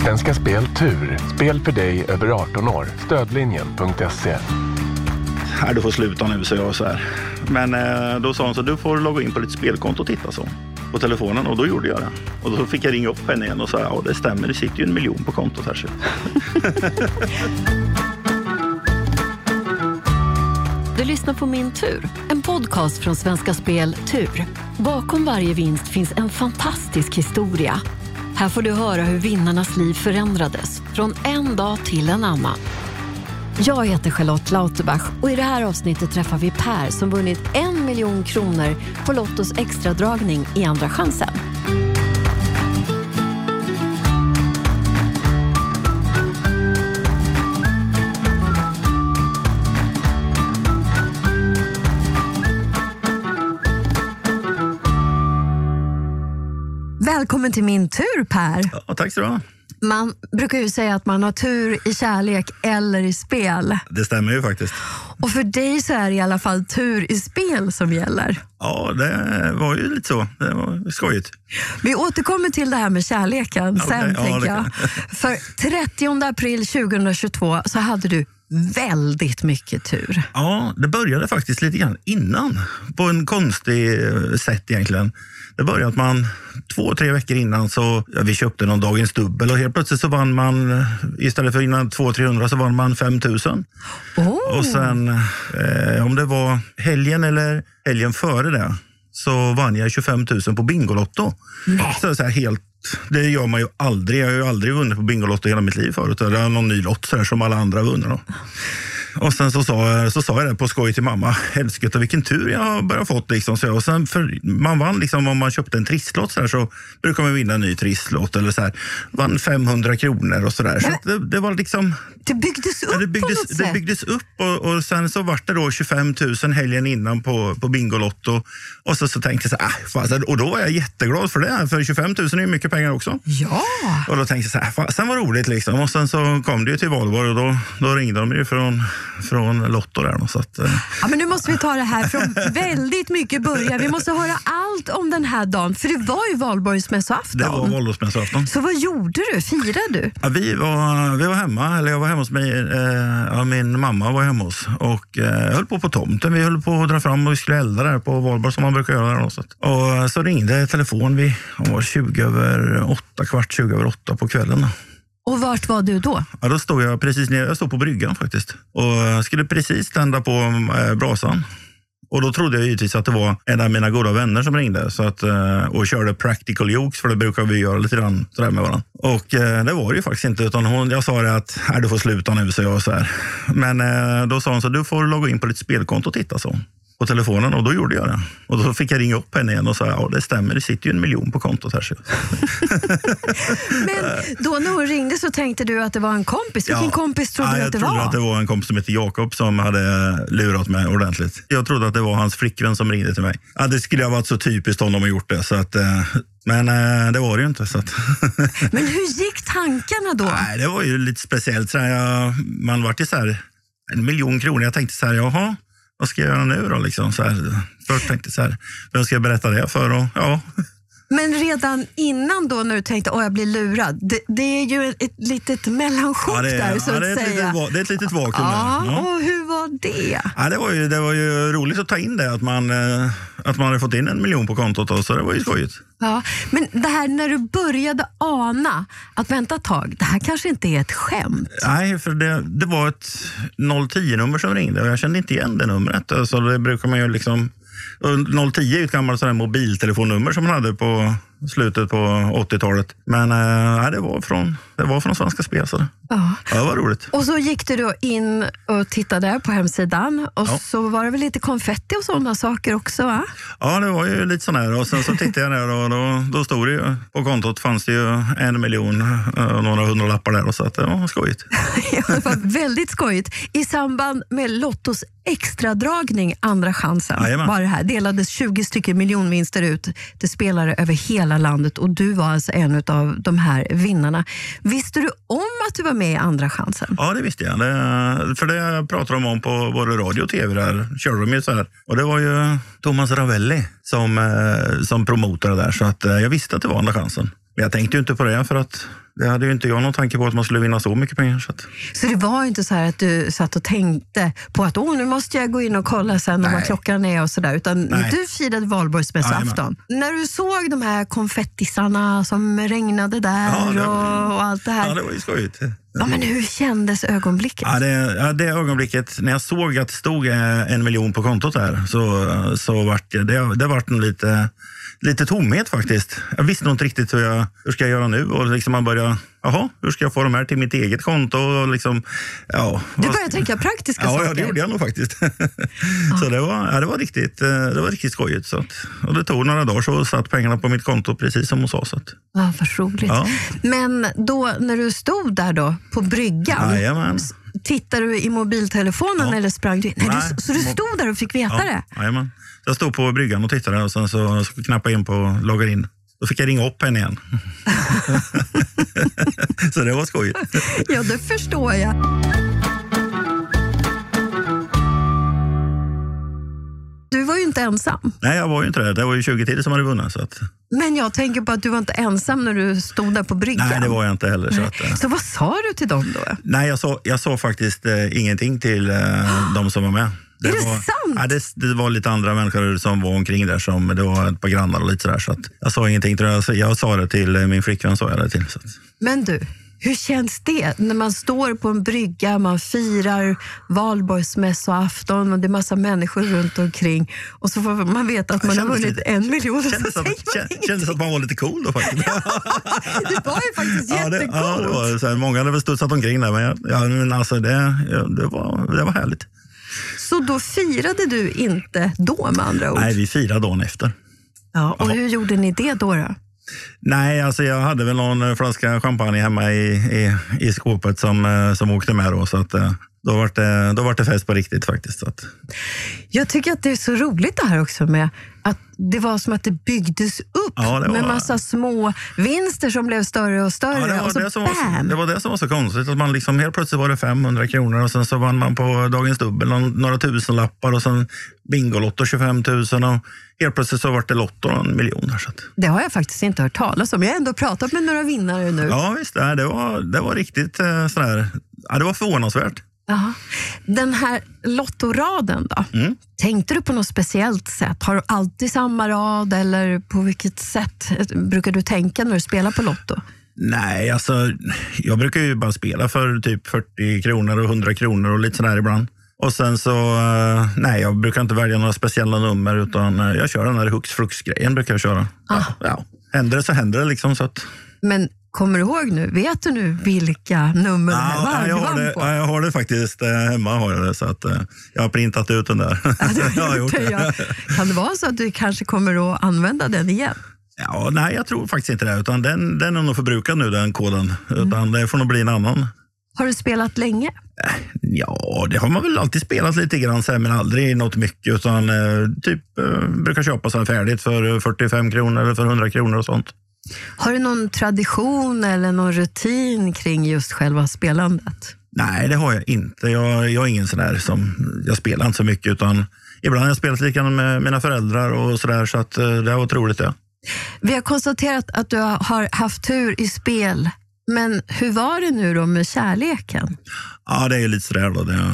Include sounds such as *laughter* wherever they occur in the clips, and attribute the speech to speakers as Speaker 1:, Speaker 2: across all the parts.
Speaker 1: Svenska Spel Tur. Spel för dig över 18 år. Stödlinjen.se.
Speaker 2: Nej, du får sluta nu, så jag så här. Men eh, då sa hon så du får logga in på ditt spelkonto och titta så. På telefonen och då gjorde jag det. Och då fick jag ringa upp henne igen och säga ja det stämmer, det sitter ju en miljon på kontot här. Så.
Speaker 3: Du lyssnar på Min tur, en podcast från Svenska Spel Tur. Bakom varje vinst finns en fantastisk historia. Här får du höra hur vinnarnas liv förändrades från en dag till en annan. Jag heter Charlotte Lauterbach och i det här avsnittet träffar vi Per som vunnit en miljon kronor på Lottos extradragning i Andra chansen. Välkommen till min tur Per.
Speaker 2: Ja, tack så du ha.
Speaker 3: Man brukar ju säga att man har tur i kärlek eller i spel.
Speaker 2: Det stämmer ju faktiskt.
Speaker 3: Och för dig så är det i alla fall tur i spel som gäller.
Speaker 2: Ja, det var ju lite så. Det var skojigt.
Speaker 3: Vi återkommer till det här med kärleken
Speaker 2: Ja,
Speaker 3: sen,
Speaker 2: okej. Ja,
Speaker 3: tänker
Speaker 2: det
Speaker 3: jag.
Speaker 2: kan- *laughs*
Speaker 3: För 30 april 2022 så hade du väldigt mycket tur.
Speaker 2: Ja, det började faktiskt lite grann innan. På en konstig eh, sätt egentligen. Det började att man två, tre veckor innan så, ja, vi köpte någon Dagens Dubbel och helt plötsligt så vann man, eh, istället för innan 200-300 så vann man 5000.
Speaker 3: Oh,
Speaker 2: Och sen, eh, om det var helgen eller helgen före det, så vann jag 25 000 på Bingolotto. Så, så här, helt, det gör man ju aldrig. Jag har ju aldrig vunnit på Bingolotto i hela mitt liv förut. Det är någon ny lott så här, som alla andra har vunnit. Då. Och sen så sa, jag- så sa jag det på skoj till mamma. Helskotta vilken tur jag har börjat fått. Liksom. Så, jag- och sen för, man vann, liksom, om man köpte en trisslott så, här, så brukar man vinna en ny trisslott. Eller så här, vann 500 kronor och sådär. Så att det, det var liksom...
Speaker 3: det byggdes upp
Speaker 2: Ja, det,
Speaker 3: på
Speaker 2: byggdes,
Speaker 3: något
Speaker 2: det
Speaker 3: sätt.
Speaker 2: byggdes upp och, och sen så vart det då 25 000 helgen innan på, på Bingolotto. Och så, så tänkte jag så här, "Ah, fasen." och då var jag jätteglad för det, för 25 000 är ju mycket pengar också.
Speaker 3: Ja,
Speaker 2: Och då tänkte jag så här, fasen vad roligt liksom. Och sen så kom det ju till valborg och då, då ringde de ju från, från Lotto där. då, Så att, eh,
Speaker 3: ja, men nu måste vi ta det här
Speaker 2: *laughs*
Speaker 3: från väldigt mycket början. Vi måste höra allt om den här dagen, för det var ju valborgsmässoafton.
Speaker 2: det var valborgsmässoafton.
Speaker 3: Så vad gjorde du? Firade du?
Speaker 2: Ja, vi, var, vi var hemma, eller jag var hemma hos mig, eh, ja, min mamma var hemma hos och eh, höll på på tomten. Vi höll på att dra fram och vi skulle elda där på valborg som man brukar göra där. då, så att- Och eh, så ringde telefon vid hon var 20 över åtta, kvart 20 över åtta på kvällen. då.
Speaker 3: Och vart var du då?
Speaker 2: Ja, då stod jag precis nere, jag stod på bryggan faktiskt och eh, skulle precis tända på eh, brasan. Och då trodde jag givetvis att det var en av mina goda vänner som ringde så att, eh, och körde practical jokes, för det brukar vi göra lite grann sådär med varandra. Och eh, det var det ju faktiskt inte, utan hon, jag sa det att "Nej, du får sluta nu, så jag så här. Men eh, då sa hon så du får logga in på ditt spelkonto och titta så på telefonen och då gjorde jag det. Och då fick jag ringa upp henne igen och säga, ja det stämmer, det sitter ju en miljon på kontot här. Så.
Speaker 3: Men då när hon ringde så tänkte du att det var en kompis. Vilken
Speaker 2: Ja.
Speaker 3: kompis trodde
Speaker 2: ja,
Speaker 3: du
Speaker 2: jag
Speaker 3: att det
Speaker 2: trodde
Speaker 3: var?
Speaker 2: att det var en kompis som hette Jakob som hade lurat mig ordentligt. Jag trodde att det var hans flickvän som ringde till mig. Ja, det skulle ha varit så typiskt honom att gjort det. Så att, eh, men eh, det var det ju inte. Så att, *laughs*
Speaker 3: Men hur gick tankarna då?
Speaker 2: nej, det var ju lite speciellt. Så här, jag, man vart ju så här, en miljon kronor. Jag tänkte så här, jaha, vad ska jag göra nu då? Liksom, så här, först tänkte jag så här, vem ska jag berätta det för? Och, ja,
Speaker 3: Men redan innan då när du tänkte att jag blir lurad. Det, det är ju ett, ett litet mellanchock
Speaker 2: ja, det,
Speaker 3: där så
Speaker 2: ja,
Speaker 3: att
Speaker 2: det, är ett
Speaker 3: säga.
Speaker 2: litet, va- det är ett litet vakuum.
Speaker 3: ja,
Speaker 2: där. Ja.
Speaker 3: och hur var det?
Speaker 2: Ja, det, var ju, det var ju roligt att ta in det, att man, eh, att man hade fått in en miljon på kontot. Då, så det var ju skojigt.
Speaker 3: Ja, men det här när du började ana att vänta ett tag, det här kanske inte är ett skämt.
Speaker 2: Nej, för det, det var ett 010-nummer som ringde och jag kände inte igen det numret. Alltså, det brukar man ju liksom... och 010 är ju ett gammalt sådär mobiltelefonnummer som man hade på slutet på 80-talet. Men eh, nej, det, var från, det var från Svenska Spel. Så det,
Speaker 3: Ja.
Speaker 2: ja, det var roligt.
Speaker 3: Och så gick du då in och tittade på hemsidan och
Speaker 2: Ja.
Speaker 3: så var det väl lite konfetti och sådana saker också va?
Speaker 2: Ja, det var ju lite sån här. Och sen så tittade jag där och då, då stod det ju... På kontot fanns det ju en miljon och några hundralappar där. och Så att det var skojigt.
Speaker 3: Ja, det var väldigt skojigt. I samband med Lottos extradragning, Andra chansen,
Speaker 2: Jajamän.
Speaker 3: var det här. delades 20 stycken miljonvinster ut till spelare över hela landet och du var alltså en av de här vinnarna. Visste du om att du var med i Andra chansen?
Speaker 2: Ja, det visste jag. Det, för det pratade de om på både radio och tv. Där körde de ju så här. Och det var ju Thomas Ravelli som, eh, som promotade där. Så att, eh, jag visste att det var Andra chansen. Men jag tänkte ju inte på det, för att det hade ju inte jag någon tanke på att man skulle vinna så mycket pengar. Så att,
Speaker 3: Så det var ju inte så här att du satt och tänkte på att Åh, nu måste jag gå in och kolla sen om
Speaker 2: Nej.
Speaker 3: vad klockan är och sådär. Utan
Speaker 2: Nej.
Speaker 3: du firade valborgsmässoafton. När du såg de här konfettisarna som regnade där
Speaker 2: Ja, det-
Speaker 3: och, och allt det här.
Speaker 2: ja, det var ju skojigt.
Speaker 3: Ja, men hur kändes ögonblicket?
Speaker 2: Ja, det, ja, det ögonblicket, när jag såg att det stod eh, en miljon på kontot där, så, så vart det, det, det vart en lite, lite tomhet faktiskt. Jag visste nog inte riktigt hur jag hur ska jag göra nu. Och liksom man började, jaha, hur ska jag få de här till mitt eget konto? Och liksom, ja,
Speaker 3: Du
Speaker 2: vad-
Speaker 3: började tänka praktiska
Speaker 2: Ja,
Speaker 3: saker.
Speaker 2: ja, det gjorde jag nog faktiskt. *laughs* så det var, ja, det var riktigt, eh, det var riktigt skojigt. Så att, och det tog några dagar så satt pengarna på mitt konto precis som hon sa. Så att,
Speaker 3: Ja, vad roligt.
Speaker 2: Ja.
Speaker 3: Men då när du stod där då på bryggan,
Speaker 2: Jajamän.
Speaker 3: s- tittade du i mobiltelefonen
Speaker 2: Ja.
Speaker 3: eller sprang du in? Nej,
Speaker 2: Nej.
Speaker 3: Du, så du stod där och fick veta det?
Speaker 2: Ja, jajamän. Så jag stod på bryggan och tittade och sen så, så knappade jag in på loggar in. Då fick jag ringa upp henne
Speaker 3: *laughs*
Speaker 2: igen. så det var skojigt.
Speaker 3: Ja, det förstår jag. Du var ju inte ensam,
Speaker 2: Nej, jag var ju inte det. Det var ju 20-tider som hade vunnit. Så att,
Speaker 3: men jag tänker på att du var inte ensam när du stod där på bryggan.
Speaker 2: nej, det var jag inte heller. Så att, eh,
Speaker 3: Så vad sa du till dem då?
Speaker 2: nej, jag sa, jag sa faktiskt eh, ingenting till eh, de som var med.
Speaker 3: *gasps* Är det
Speaker 2: var,
Speaker 3: sant?
Speaker 2: Ja, det, det var lite andra människor som var omkring där. Som, det var ett par grannar och lite sådär. Så att, jag sa ingenting till dem. Jag sa- Jag sa det till eh, min flickvän. Sa jag det till, så att,
Speaker 3: Men du, hur känns det när man står på en brygga, man firar valborgsmässoafton och det är massa människor runt omkring och så får man veta att man har
Speaker 2: kändes
Speaker 3: vunnit
Speaker 2: lite-
Speaker 3: en miljon. så *laughs*
Speaker 2: kändes, att,
Speaker 3: säger man
Speaker 2: kän- kändes att man var lite cool då
Speaker 3: *laughs*
Speaker 2: faktiskt.
Speaker 3: ingenting. Det var ju faktiskt
Speaker 2: Ja, det,
Speaker 3: jättecoolt.
Speaker 2: ja, det var, så här, många hade väl studsat omkring där, men, jag, ja, men alltså, det, ja, det, var, det var härligt.
Speaker 3: Så då firade du inte då med andra ord?
Speaker 2: Nej, vi firade dagen efter.
Speaker 3: Ja, och hur gjorde ni det då? då?
Speaker 2: Nej, alltså jag hade väl någon eh, flaska champagne hemma i, i, i skåpet som, eh, som åkte med då, så att, eh, då var det, då var det fest på riktigt faktiskt. Så att,
Speaker 3: Jag tycker att det är så roligt det här också med att det var som att det byggdes upp
Speaker 2: Ja, det var-
Speaker 3: med massa små vinster som blev större och större.
Speaker 2: ja, det,
Speaker 3: och
Speaker 2: var
Speaker 3: så
Speaker 2: det, som var, så-
Speaker 3: alltså bam!
Speaker 2: det var det som var så konstigt, att man liksom helt plötsligt var det 500 kronor och sen så vann man på Dagens Dubbel någon, några tusenlappar och sen Bingolotto 25 000 och helt plötsligt så var det Lotto en miljon. där, Så att,
Speaker 3: Det har jag faktiskt inte hört talas om. Jag har ändå pratat med några vinnare nu.
Speaker 2: Ja, visst. Nej, det, var, det var riktigt eh, sådär. Ja, det var förvånansvärt.
Speaker 3: Jaha. Den här lottoraden då?
Speaker 2: Mm.
Speaker 3: Tänkte du på något speciellt sätt? Har du alltid samma rad eller på vilket sätt brukar du tänka när du spelar på Lotto?
Speaker 2: Nej, alltså jag brukar ju bara spela för typ 40 kronor och 100 kronor och lite sådär ibland. Och sen så, eh, nej, jag brukar inte välja några speciella nummer utan eh, jag kör den här hux flux-grejen brukar jag köra. Ja, ja. Händer det så händer det liksom. Så att,
Speaker 3: Men kommer du ihåg nu? Vet du nu vilka nummer det här var
Speaker 2: ja,
Speaker 3: du
Speaker 2: jag, har
Speaker 3: vann
Speaker 2: det,
Speaker 3: på?
Speaker 2: ja, jag har det faktiskt eh, hemma. Har jag, det, så att, eh, jag har printat ut den där. *laughs* jag har gjort det.
Speaker 3: *laughs* Ja. Kan det vara så att du kanske kommer att använda den igen?
Speaker 2: Ja, nej, jag tror faktiskt inte det. Utan den, den är nog förbrukad nu, den koden. Utan det får nog bli en annan.
Speaker 3: Har du spelat länge?
Speaker 2: Ja, det har man väl alltid spelat lite grann, så här, men aldrig något mycket. Utan eh, typ eh, brukar köpa så här färdigt för eh, 45 kronor eller för 100 kronor och sånt.
Speaker 3: Har du någon tradition eller någon rutin kring just själva spelandet?
Speaker 2: Nej, det har jag inte. Jag, jag är ingen sån där som, jag spelar inte så mycket. Utan ibland har jag spelat lite grann med mina föräldrar och sådär. Så att eh, det var otroligt det.
Speaker 3: Vi har konstaterat att du har haft tur i spel, men hur var det nu då med kärleken?
Speaker 2: Ja, det är ju lite sådär då. Det,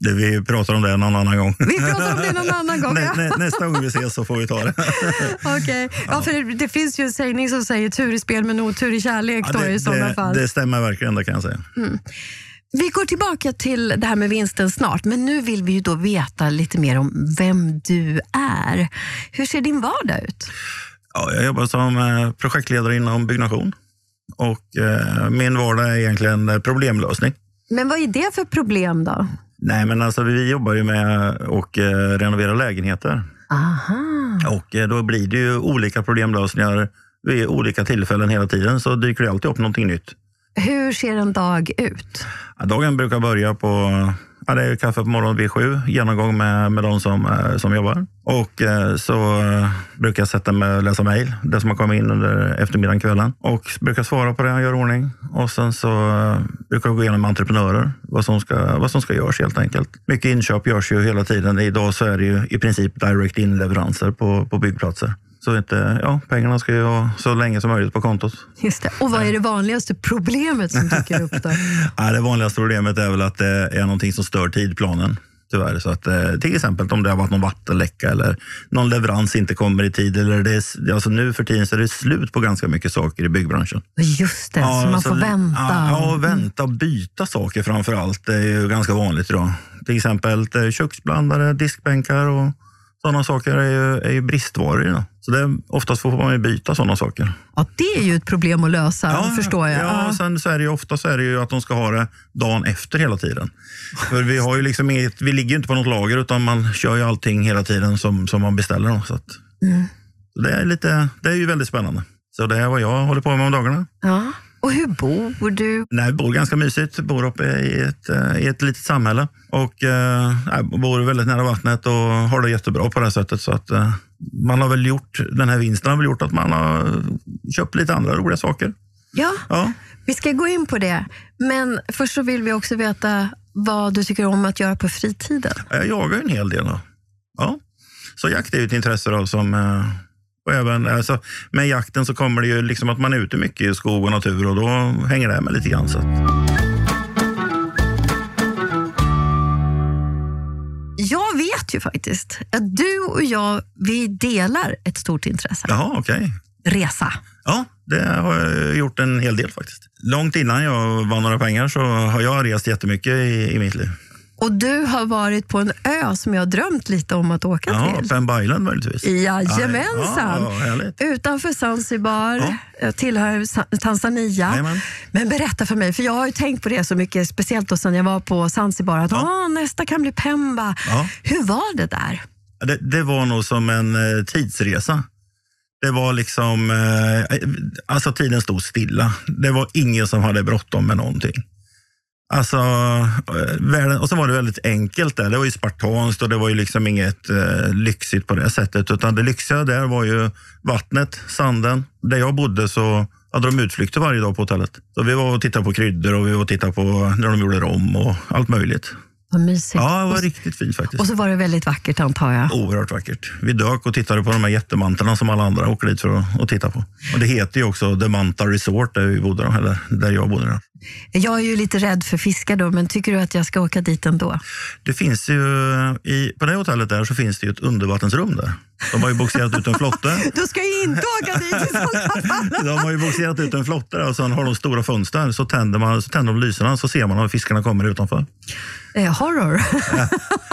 Speaker 2: det, vi pratar om det någon annan gång.
Speaker 3: Vi pratar om det
Speaker 2: *laughs*
Speaker 3: någon annan gång.
Speaker 2: Nä,
Speaker 3: ja.
Speaker 2: nä, nästa gång vi ses så får vi ta det.
Speaker 3: *laughs* Okej. Ja, för det- det finns ju en sägning som säger tur i spel men otur i kärlek.
Speaker 2: Ja,
Speaker 3: då, i sådana
Speaker 2: det,
Speaker 3: fall.
Speaker 2: det stämmer verkligen, det kan jag säga.
Speaker 3: Vi går tillbaka till det här med vinsten snart, men nu vill vi ju då veta lite mer om vem du är. Hur ser din vardag ut?
Speaker 2: Ja, jag jobbar som eh, projektledare inom byggnation. Och eh, min vardag är egentligen eh, problemlösning.
Speaker 3: Men vad är det för problem då?
Speaker 2: Nej, men alltså vi jobbar ju med att eh, renovera lägenheter.
Speaker 3: Aha.
Speaker 2: Och eh, då blir det ju olika problemlösningar vid olika tillfällen hela tiden. Så dyker det alltid upp någonting nytt.
Speaker 3: Hur ser en dag ut?
Speaker 2: Ja, dagen brukar börja på ja, det är ju kaffe på morgonen vid sju, genomgång med, med de som, eh, som jobbar. Och eh, så eh, brukar jag sätta mig och läsa mejl, det som har kommit in under eftermiddagen, kvällen. Och brukar svara på det jag gör i ordning. Och sen så eh, brukar jag gå igenom med entreprenörer, vad som, ska, vad som ska göras helt enkelt. Mycket inköp görs ju hela tiden. Idag så är det ju i princip direct in-leveranser på, på byggplatser. Så inte, ja, pengarna ska ju vara så länge som möjligt på kontot.
Speaker 3: Just det. Och vad är det vanligaste problemet som dyker upp då?
Speaker 2: Ja, det vanligaste problemet är väl att det är någonting som stör tidplanen. Tyvärr. Så att, eh, till exempel om det har varit någon vattenläcka eller någon leverans inte kommer i tid. Eller det är, s- alltså nu för tiden så är det slut på ganska mycket saker i byggbranschen.
Speaker 3: Just det, så man
Speaker 2: så
Speaker 3: får
Speaker 2: li-
Speaker 3: vänta.
Speaker 2: Ja, ja, och vänta och byta saker framför allt. Det är ju ganska vanligt idag. Till exempel eh, köksblandare, diskbänkar och sådana saker är ju, är ju bristvaror idag. Så det, oftast får man ju byta sådana saker.
Speaker 3: Ja, det är ju ett problem att lösa, förstår jag.
Speaker 2: Ja,
Speaker 3: Ja.
Speaker 2: och sen så är det ju ofta så är det ju att de ska ha det dagen efter hela tiden. För vi, har ju liksom inget, vi ligger ju inte på något lager utan man kör ju allting hela tiden som, som man beställer. Då, så att,
Speaker 3: Mm.
Speaker 2: så det, är lite, det är ju väldigt spännande. Så det är vad jag håller på med om dagarna.
Speaker 3: Ja. Och hur bor du?
Speaker 2: Nej, vi bor ganska mysigt. Vi bor uppe i ett, eh, i ett litet samhälle och eh, nej, bor väldigt nära vattnet och har det jättebra på det här sättet. Så att, eh, man har väl gjort, den här vinsten har väl gjort att man har köpt lite andra roliga saker.
Speaker 3: Ja,
Speaker 2: Ja.
Speaker 3: vi ska gå in på det. Men först så vill vi också veta vad du tycker om att göra på fritiden.
Speaker 2: Jag jagar ju en hel del. Då. Ja. Så jakt är ju ett intresse. Då, som, eh, och även, alltså, med jakten så kommer det ju liksom att man är ute mycket i skog och natur och då hänger det här med lite grann. Så att,
Speaker 3: Jag vet ju faktiskt att du och jag, vi delar ett stort intresse.
Speaker 2: jaha, okej.
Speaker 3: Resa.
Speaker 2: Ja, det har jag gjort en hel del faktiskt. Långt innan jag vann några pengar så har jag rest jättemycket i, i mitt liv.
Speaker 3: Och du har varit på en ö som jag har drömt lite om att åka
Speaker 2: Ja,
Speaker 3: till.
Speaker 2: Pemba Island möjligtvis.
Speaker 3: Jajamensan!
Speaker 2: Ja, härligt.
Speaker 3: Utanför Zanzibar,
Speaker 2: Ja.
Speaker 3: jag tillhör Sa- Tanzania.
Speaker 2: Jajamän.
Speaker 3: Men berätta för mig, för jag har ju tänkt på det så mycket, speciellt då sen jag var på Zanzibar, att
Speaker 2: Ja.
Speaker 3: "Åh, nästa kan bli Pemba.
Speaker 2: Ja.
Speaker 3: Hur var det där?
Speaker 2: Det, det var nog som en eh, tidsresa. Det var liksom, eh, alltså tiden stod stilla. Det var ingen som hade bråttom med någonting. Alltså, eh, världen, och så var det väldigt enkelt där. Det var ju spartanskt och det var ju liksom inget eh, lyxigt på det sättet. Utan det lyxiga där var ju vattnet, sanden. Där jag bodde så hade de utflykter varje dag på hotellet. Så vi var och tittade på kryddor och vi var och tittade på när de gjorde rom och allt möjligt.
Speaker 3: Vad mysigt.
Speaker 2: Ja, det var
Speaker 3: och,
Speaker 2: riktigt fint faktiskt.
Speaker 3: och så var det väldigt vackert antar jag.
Speaker 2: Oerhört vackert. Vi dök och tittade på de här jättemantlarna som alla andra åker dit för att, att titta på. Och det heter ju också The Manta Resort där vi bodde, då, eller där jag bodde. Då.
Speaker 3: Jag är ju lite rädd för fiskar då, men tycker du att jag ska åka dit ändå?
Speaker 2: Det finns ju, i, på det hotellet där så finns det ju ett undervattensrum där. De har ju boxerat ut en flotte.
Speaker 3: *laughs* Då ska jag inte åka dit i *laughs* sådana fall.
Speaker 2: De har ju boxerat ut en flotte där och sen har de stora fönster. Så tänder, man, så tänder de lyserna så ser man om fiskarna kommer utanför.
Speaker 3: Eh, horror.
Speaker 2: Ja,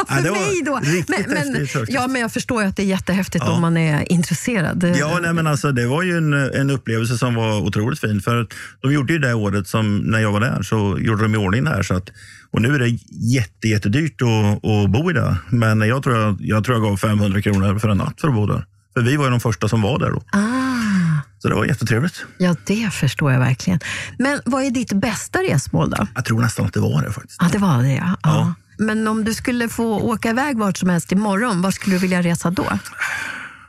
Speaker 3: för
Speaker 2: det var
Speaker 3: mig då.
Speaker 2: Riktigt
Speaker 3: Men, men,
Speaker 2: häftigt faktiskt.
Speaker 3: ja, men jag förstår ju att det är jättehäftigt
Speaker 2: Ja.
Speaker 3: om man är intresserad.
Speaker 2: Ja, nej, men alltså, det var ju en, en upplevelse som var otroligt fin. För att de gjorde ju det året som när jag var där, så gjorde de i ordning det här. Så att, och nu är det jätte, jättedyrt att, att bo i det. Men jag tror jag, jag tror jag gav 500 kronor för en natt för att bo där. För vi var ju de första som var där då.
Speaker 3: Ah,
Speaker 2: Så det var jättetrevligt.
Speaker 3: ja, det förstår jag verkligen. Men vad är ditt bästa resmål då?
Speaker 2: Jag tror nästan att det var det faktiskt.
Speaker 3: Ja, det var det ja. ja.
Speaker 2: Ja.
Speaker 3: Men om du skulle få åka iväg vart som helst imorgon, var skulle du vilja resa då?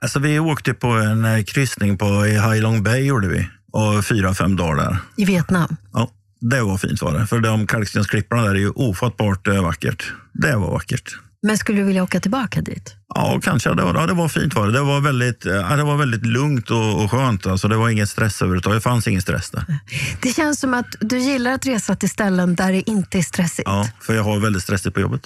Speaker 2: Alltså, vi åkte på en eh, kryssning på, i Hai Long Bay gjorde vi. Och fyra, fem dagar där.
Speaker 3: I Vietnam?
Speaker 2: Ja, det var fint var det. För de kalkstensklipparna där är ju ofattbart eh, vackert. Det var vackert.
Speaker 3: Men skulle du vilja åka tillbaka dit?
Speaker 2: Ja, kanske. Det var, ja, det var fint. Var det. Det, var väldigt, eh, ja, det var väldigt lugnt och, och skönt. Alltså, det var ingen stress överhuvudtaget. Det fanns ingen stress där.
Speaker 3: Det känns som att du gillar att resa till ställen där det inte är stressigt.
Speaker 2: Ja, för jag har väldigt stressigt på jobbet.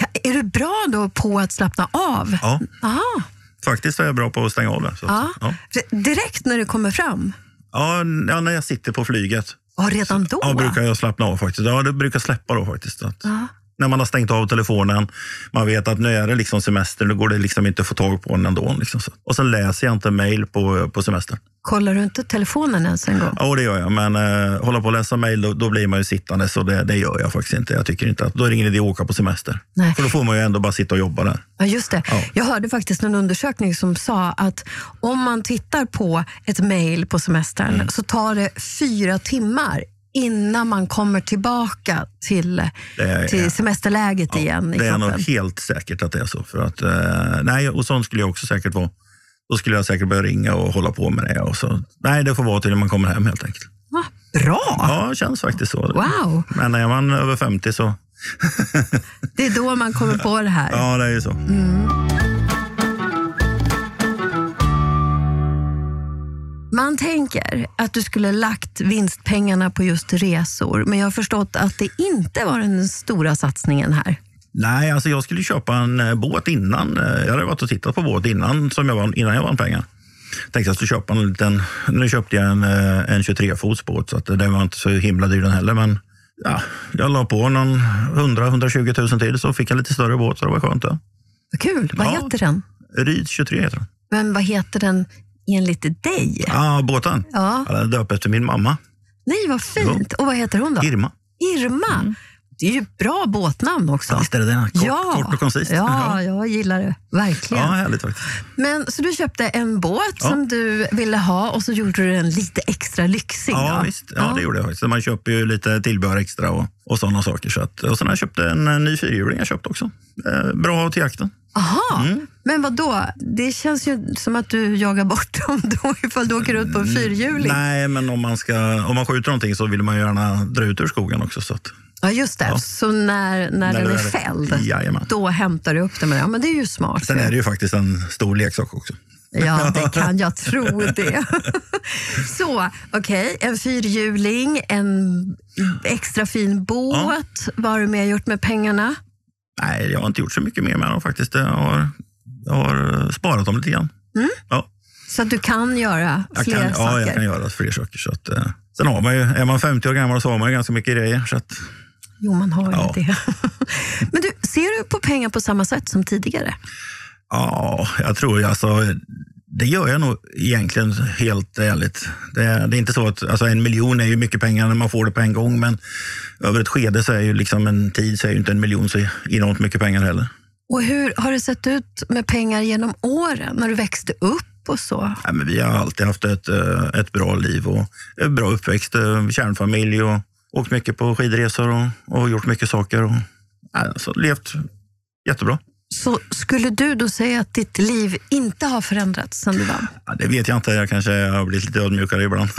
Speaker 3: Ka- Är du bra då på att slappna av?
Speaker 2: Ja,
Speaker 3: Aha,
Speaker 2: faktiskt är jag bra på att stänga av det. Så, att-
Speaker 3: ja.
Speaker 2: ja.
Speaker 3: D- Direkt när du kommer fram?
Speaker 2: Ja, n- ja, när jag sitter på flyget
Speaker 3: Ja, redan då?
Speaker 2: ja, brukar jag slappna av faktiskt. Ja, det brukar släppa då faktiskt. Så Att,
Speaker 3: Ja.
Speaker 2: När man har stängt av telefonen, man vet att nu är det liksom semester, nu går det liksom inte att få tag på den ändå. Liksom. Så- Och så läser jag inte mejl på, på semestern.
Speaker 3: Kollar du inte telefonen ens en gång?
Speaker 2: Ja, det gör jag. Men eh, hålla på och läsa mejl, då, då blir man ju sittande. Så det, det gör jag faktiskt inte. Jag tycker inte att, då är det ingen idé att åka på semester.
Speaker 3: Nej.
Speaker 2: För då får man ju ändå bara sitta och jobba där.
Speaker 3: Ja, just det.
Speaker 2: Ja.
Speaker 3: Jag hörde faktiskt en undersökning som sa att om man tittar på ett mejl på semestern
Speaker 2: Mm.
Speaker 3: så tar det fyra timmar innan man kommer tillbaka till,
Speaker 2: Det är-
Speaker 3: till semesterläget igen liksom. i
Speaker 2: det är nog
Speaker 3: kroppen.
Speaker 2: helt säkert att det är så. För att, eh, nej, och sånt skulle jag också säkert vara. Då skulle jag säkert börja ringa och hålla på med det. Och så. Nej, det får vara till när man kommer hem helt enkelt.
Speaker 3: Va? Bra!
Speaker 2: Ja, det känns faktiskt så.
Speaker 3: Wow!
Speaker 2: Men när man är över 50 så...
Speaker 3: Det är då man kommer på det här.
Speaker 2: Ja, det är ju så.
Speaker 3: Man tänker att du skulle lagt vinstpengarna på just resor, men jag har förstått att det inte var den stora satsningen här.
Speaker 2: Nej, alltså jag skulle köpa en eh, båt innan. Eh, Jag hade varit och tittat på båt innan, som jag vann, innan jag vann pengar. Tänkte jag skulle köpa en liten... Nu köpte jag en, eh, en 23-fots båt, så att den var inte så himla dyr den heller. Men ja, jag la på någon 100-120 000 till, så fick jag en lite större båt, så det var skönt. Ja.
Speaker 3: Vad kul! Vad
Speaker 2: Ja.
Speaker 3: heter den?
Speaker 2: Ryd 23 heter den.
Speaker 3: Men vad heter den enligt dig?
Speaker 2: Ja, ah, båten.
Speaker 3: Ja.
Speaker 2: Ja, Den döpte efter min mamma,
Speaker 3: Nej, vad fint! Och vad heter hon då?
Speaker 2: Irma.
Speaker 3: Irma. Det är ju ett bra båtnamn också.
Speaker 2: Visst är det den? Kort, kort och koncist.
Speaker 3: Ja, jag gillar det. Verkligen.
Speaker 2: ja, härligt faktiskt.
Speaker 3: Men, så du köpte en båt
Speaker 2: Ja.
Speaker 3: som du ville ha och så gjorde du den lite extra lyxig.
Speaker 2: Ja,
Speaker 3: då.
Speaker 2: visst. Ja, det gjorde jag faktiskt. Man köper ju lite tillbehör extra och, och sådana saker. Så att, och sen har jag köpt en eh, ny fyrhjuling. Jag köpt också. Eh, bra till jakten.
Speaker 3: Aha.
Speaker 2: Mm.
Speaker 3: Men vad då? Det känns ju som att du jagar bort *laughs* dem då ifall du åker ut på en fyrhjuling.
Speaker 2: Mm, Nej, men om man, ska, om man skjuter någonting så vill man ju gärna dra ut ur skogen också. Så att,
Speaker 3: Ja, just det. Så när, när, den
Speaker 2: det
Speaker 3: är
Speaker 2: är-
Speaker 3: fälld,
Speaker 2: Jajamän.
Speaker 3: då hämtar du upp den. med det. Ja, men det är ju smart.
Speaker 2: sen
Speaker 3: ju.
Speaker 2: är det ju faktiskt en stor leksak också.
Speaker 3: Ja, det kan jag tro det. *laughs* Så, okej. En fyrhjuling, en extra fin båt. Vad har du mer gjort med pengarna?
Speaker 2: Nej, jag har inte gjort så mycket mer med dem faktiskt. Jag har, jag har eh, sparat dem lite grann. Ja,
Speaker 3: Så att du kan göra
Speaker 2: jag
Speaker 3: Mm. fler
Speaker 2: kan, ja,
Speaker 3: saker.
Speaker 2: jag kan göra fler saker. Så att, eh, sen har man ju, är man 50 år gammal så har man ju ganska mycket grejer. Så att,
Speaker 3: Jo, man har ju
Speaker 2: Ja.
Speaker 3: det. *laughs* Men du, ser du på pengar på samma sätt som tidigare?
Speaker 2: Ja, jag tror jag. Alltså, det gör jag nog egentligen helt ärligt. Det, är- det är inte så att alltså en miljon är ju mycket pengar när man får det på en gång, men över ett skede så är ju liksom en tid så är ju inte en miljon så enormt mycket pengar heller.
Speaker 3: Och hur har det sett ut med pengar genom åren, när du växte upp och så?
Speaker 2: Nej, men vi har alltid haft ett, eh, ett bra liv och en bra uppväxt, eh, kärnfamilj och åkt mycket på skidresor och, och gjort mycket saker. Och, nej, alltså, levt jättebra.
Speaker 3: Så skulle du då säga att ditt liv inte har förändrats sedan du vann?
Speaker 2: Ja, det vet jag inte, jag kanske har blivit lite ödmjukare ibland. *laughs*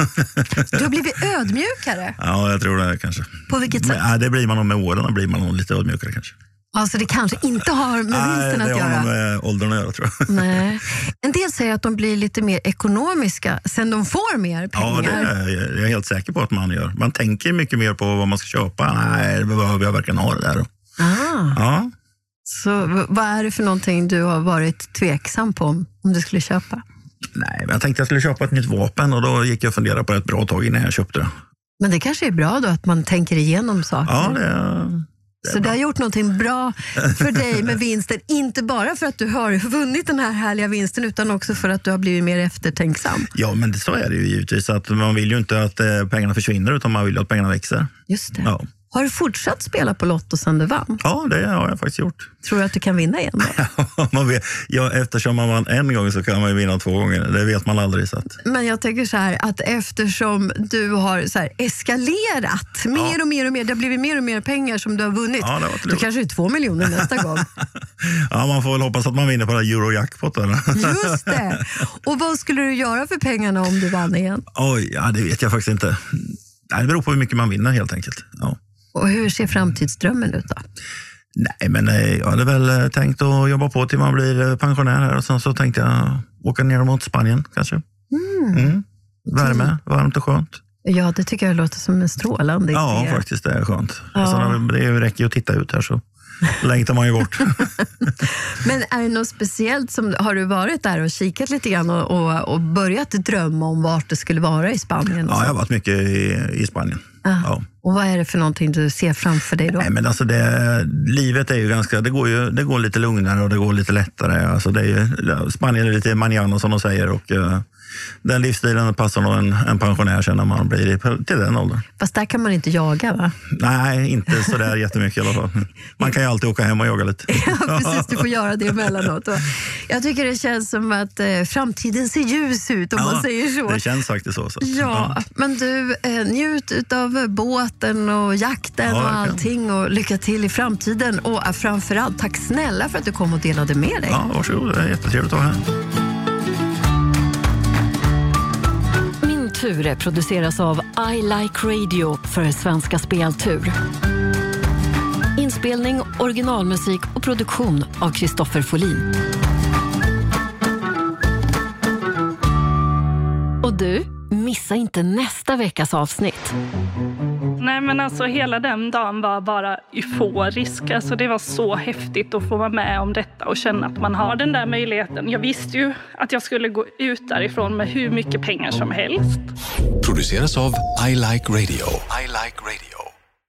Speaker 3: Du har blivit ödmjukare.
Speaker 2: ja, jag tror det kanske.
Speaker 3: På vilket
Speaker 2: Men,
Speaker 3: sätt?
Speaker 2: ja, det blir man nog med åren, då blir man nog lite ödmjukare kanske.
Speaker 3: Alltså det kanske inte har med vinsten
Speaker 2: det
Speaker 3: att
Speaker 2: har nog
Speaker 3: göra.
Speaker 2: med åldern att göra tror jag.
Speaker 3: Nej. En del säger att de blir lite mer ekonomiska sen de får mer
Speaker 2: *laughs* Ja,
Speaker 3: pengar.
Speaker 2: det är jag- jag är helt säker på att man gör. Man tänker mycket mer på vad man ska köpa. Nej, det behöver jag verkligen ha det där?
Speaker 3: Ah,
Speaker 2: Ja,
Speaker 3: så v- vad är det för någonting du har varit tveksam på om, om du skulle köpa?
Speaker 2: nej, men jag tänkte jag skulle köpa ett nytt vapen och då gick jag och funderade på det ett bra tag innan jag köpte det.
Speaker 3: Men det kanske är bra då att man tänker igenom saker.
Speaker 2: Ja, det,
Speaker 3: så du har gjort någonting bra för dig med vinsten, inte bara för att du har vunnit den här härliga vinsten utan också för att du har blivit mer eftertänksam.
Speaker 2: ja men det, så är det ju givetvis. Att man vill ju inte att eh, pengarna försvinner utan man vill ju att pengarna växer.
Speaker 3: Just det.
Speaker 2: Ja,
Speaker 3: Har du fortsatt spela på Lotto sen du vann?
Speaker 2: ja det har jag faktiskt gjort. *laughs*
Speaker 3: Tror du att du kan vinna igen? Då?
Speaker 2: man vet, ja, eftersom man vann en gång så kan man ju vinna två gånger. Det vet man aldrig. Så att.
Speaker 3: Men jag tänker så här att eftersom du har så här eskalerat mer och mer och mer, det har blivit mer och mer pengar som du har vunnit.
Speaker 2: Ja, det var
Speaker 3: då
Speaker 2: otroligt.
Speaker 3: kanske det är två miljoner nästa gång.
Speaker 2: *laughs* Ja, man får väl hoppas att man vinner på det här Eurojackpot. Eller?
Speaker 3: Just det! Och vad skulle du göra för pengarna om du vann igen?
Speaker 2: *laughs* Oj, ja, det vet jag faktiskt inte. Nej, Det beror på hur mycket man vinner helt enkelt. Ja.
Speaker 3: Och hur ser framtidsdrömmen ut då?
Speaker 2: Nej, men eh, jag hade väl eh, tänkt att jobba på till man blir eh, pensionär här och sen så tänkte jag åka ner mot Spanien kanske. Mm. Värme, varmt och skönt.
Speaker 3: Ja, det tycker jag låter som en strålande
Speaker 2: Ja,
Speaker 3: idé.
Speaker 2: faktiskt det är skönt.
Speaker 3: Ja.
Speaker 2: Sen har vi- det räcker ju att titta ut här *laughs* så längtar man ju bort.
Speaker 3: Men är det något speciellt? Som, har du varit där och kikat lite grann och, och, och börjat drömma om vart det skulle vara i Spanien? och
Speaker 2: Ja,
Speaker 3: så?
Speaker 2: jag har varit mycket i, i Spanien. Ja.
Speaker 3: Och vad är det för någonting du ser framför dig då?
Speaker 2: Nej, men alltså det, livet är ju ganska, det går, ju, det går lite lugnare och det går lite lättare. Alltså det är ju, Spanien är lite manjana som de säger och eh, den livsstilen passar nog en, en pensionär sen när man blir i- till den åldern.
Speaker 3: Fast där kan man inte jaga va?
Speaker 2: Nej, inte sådär jättemycket i alla fall. Man kan ju alltid åka hem och jaga
Speaker 3: *laughs*
Speaker 2: lite.
Speaker 3: Ja, precis. Du får göra det emellanåt. Och jag tycker det känns som att eh, framtiden ser ljus ut om man säger så.
Speaker 2: Det känns faktiskt så. så. att-
Speaker 3: Ja, men du, eh, njut av båten och jakten
Speaker 2: Ja,
Speaker 3: och
Speaker 2: verkligen.
Speaker 3: allting och lycka till i framtiden. Och eh, framförallt, tack snälla för att du kom och delade med dig.
Speaker 2: ja, varsågod. Det är jättetrevligt att vara här.
Speaker 4: Min tur produceras av I Like Radio för Svenska Speltur. Inspelning, originalmusik och produktion av Christopher Folin. Och du, missa inte nästa veckas avsnitt.
Speaker 5: Nej men alltså hela den dagen var bara euforisk. Alltså det var så häftigt att få vara med om detta och känna att man har den där möjligheten. Jag visste ju att jag skulle gå ut därifrån med hur mycket pengar som helst.
Speaker 6: Produceras av I Like Radio. I like radio.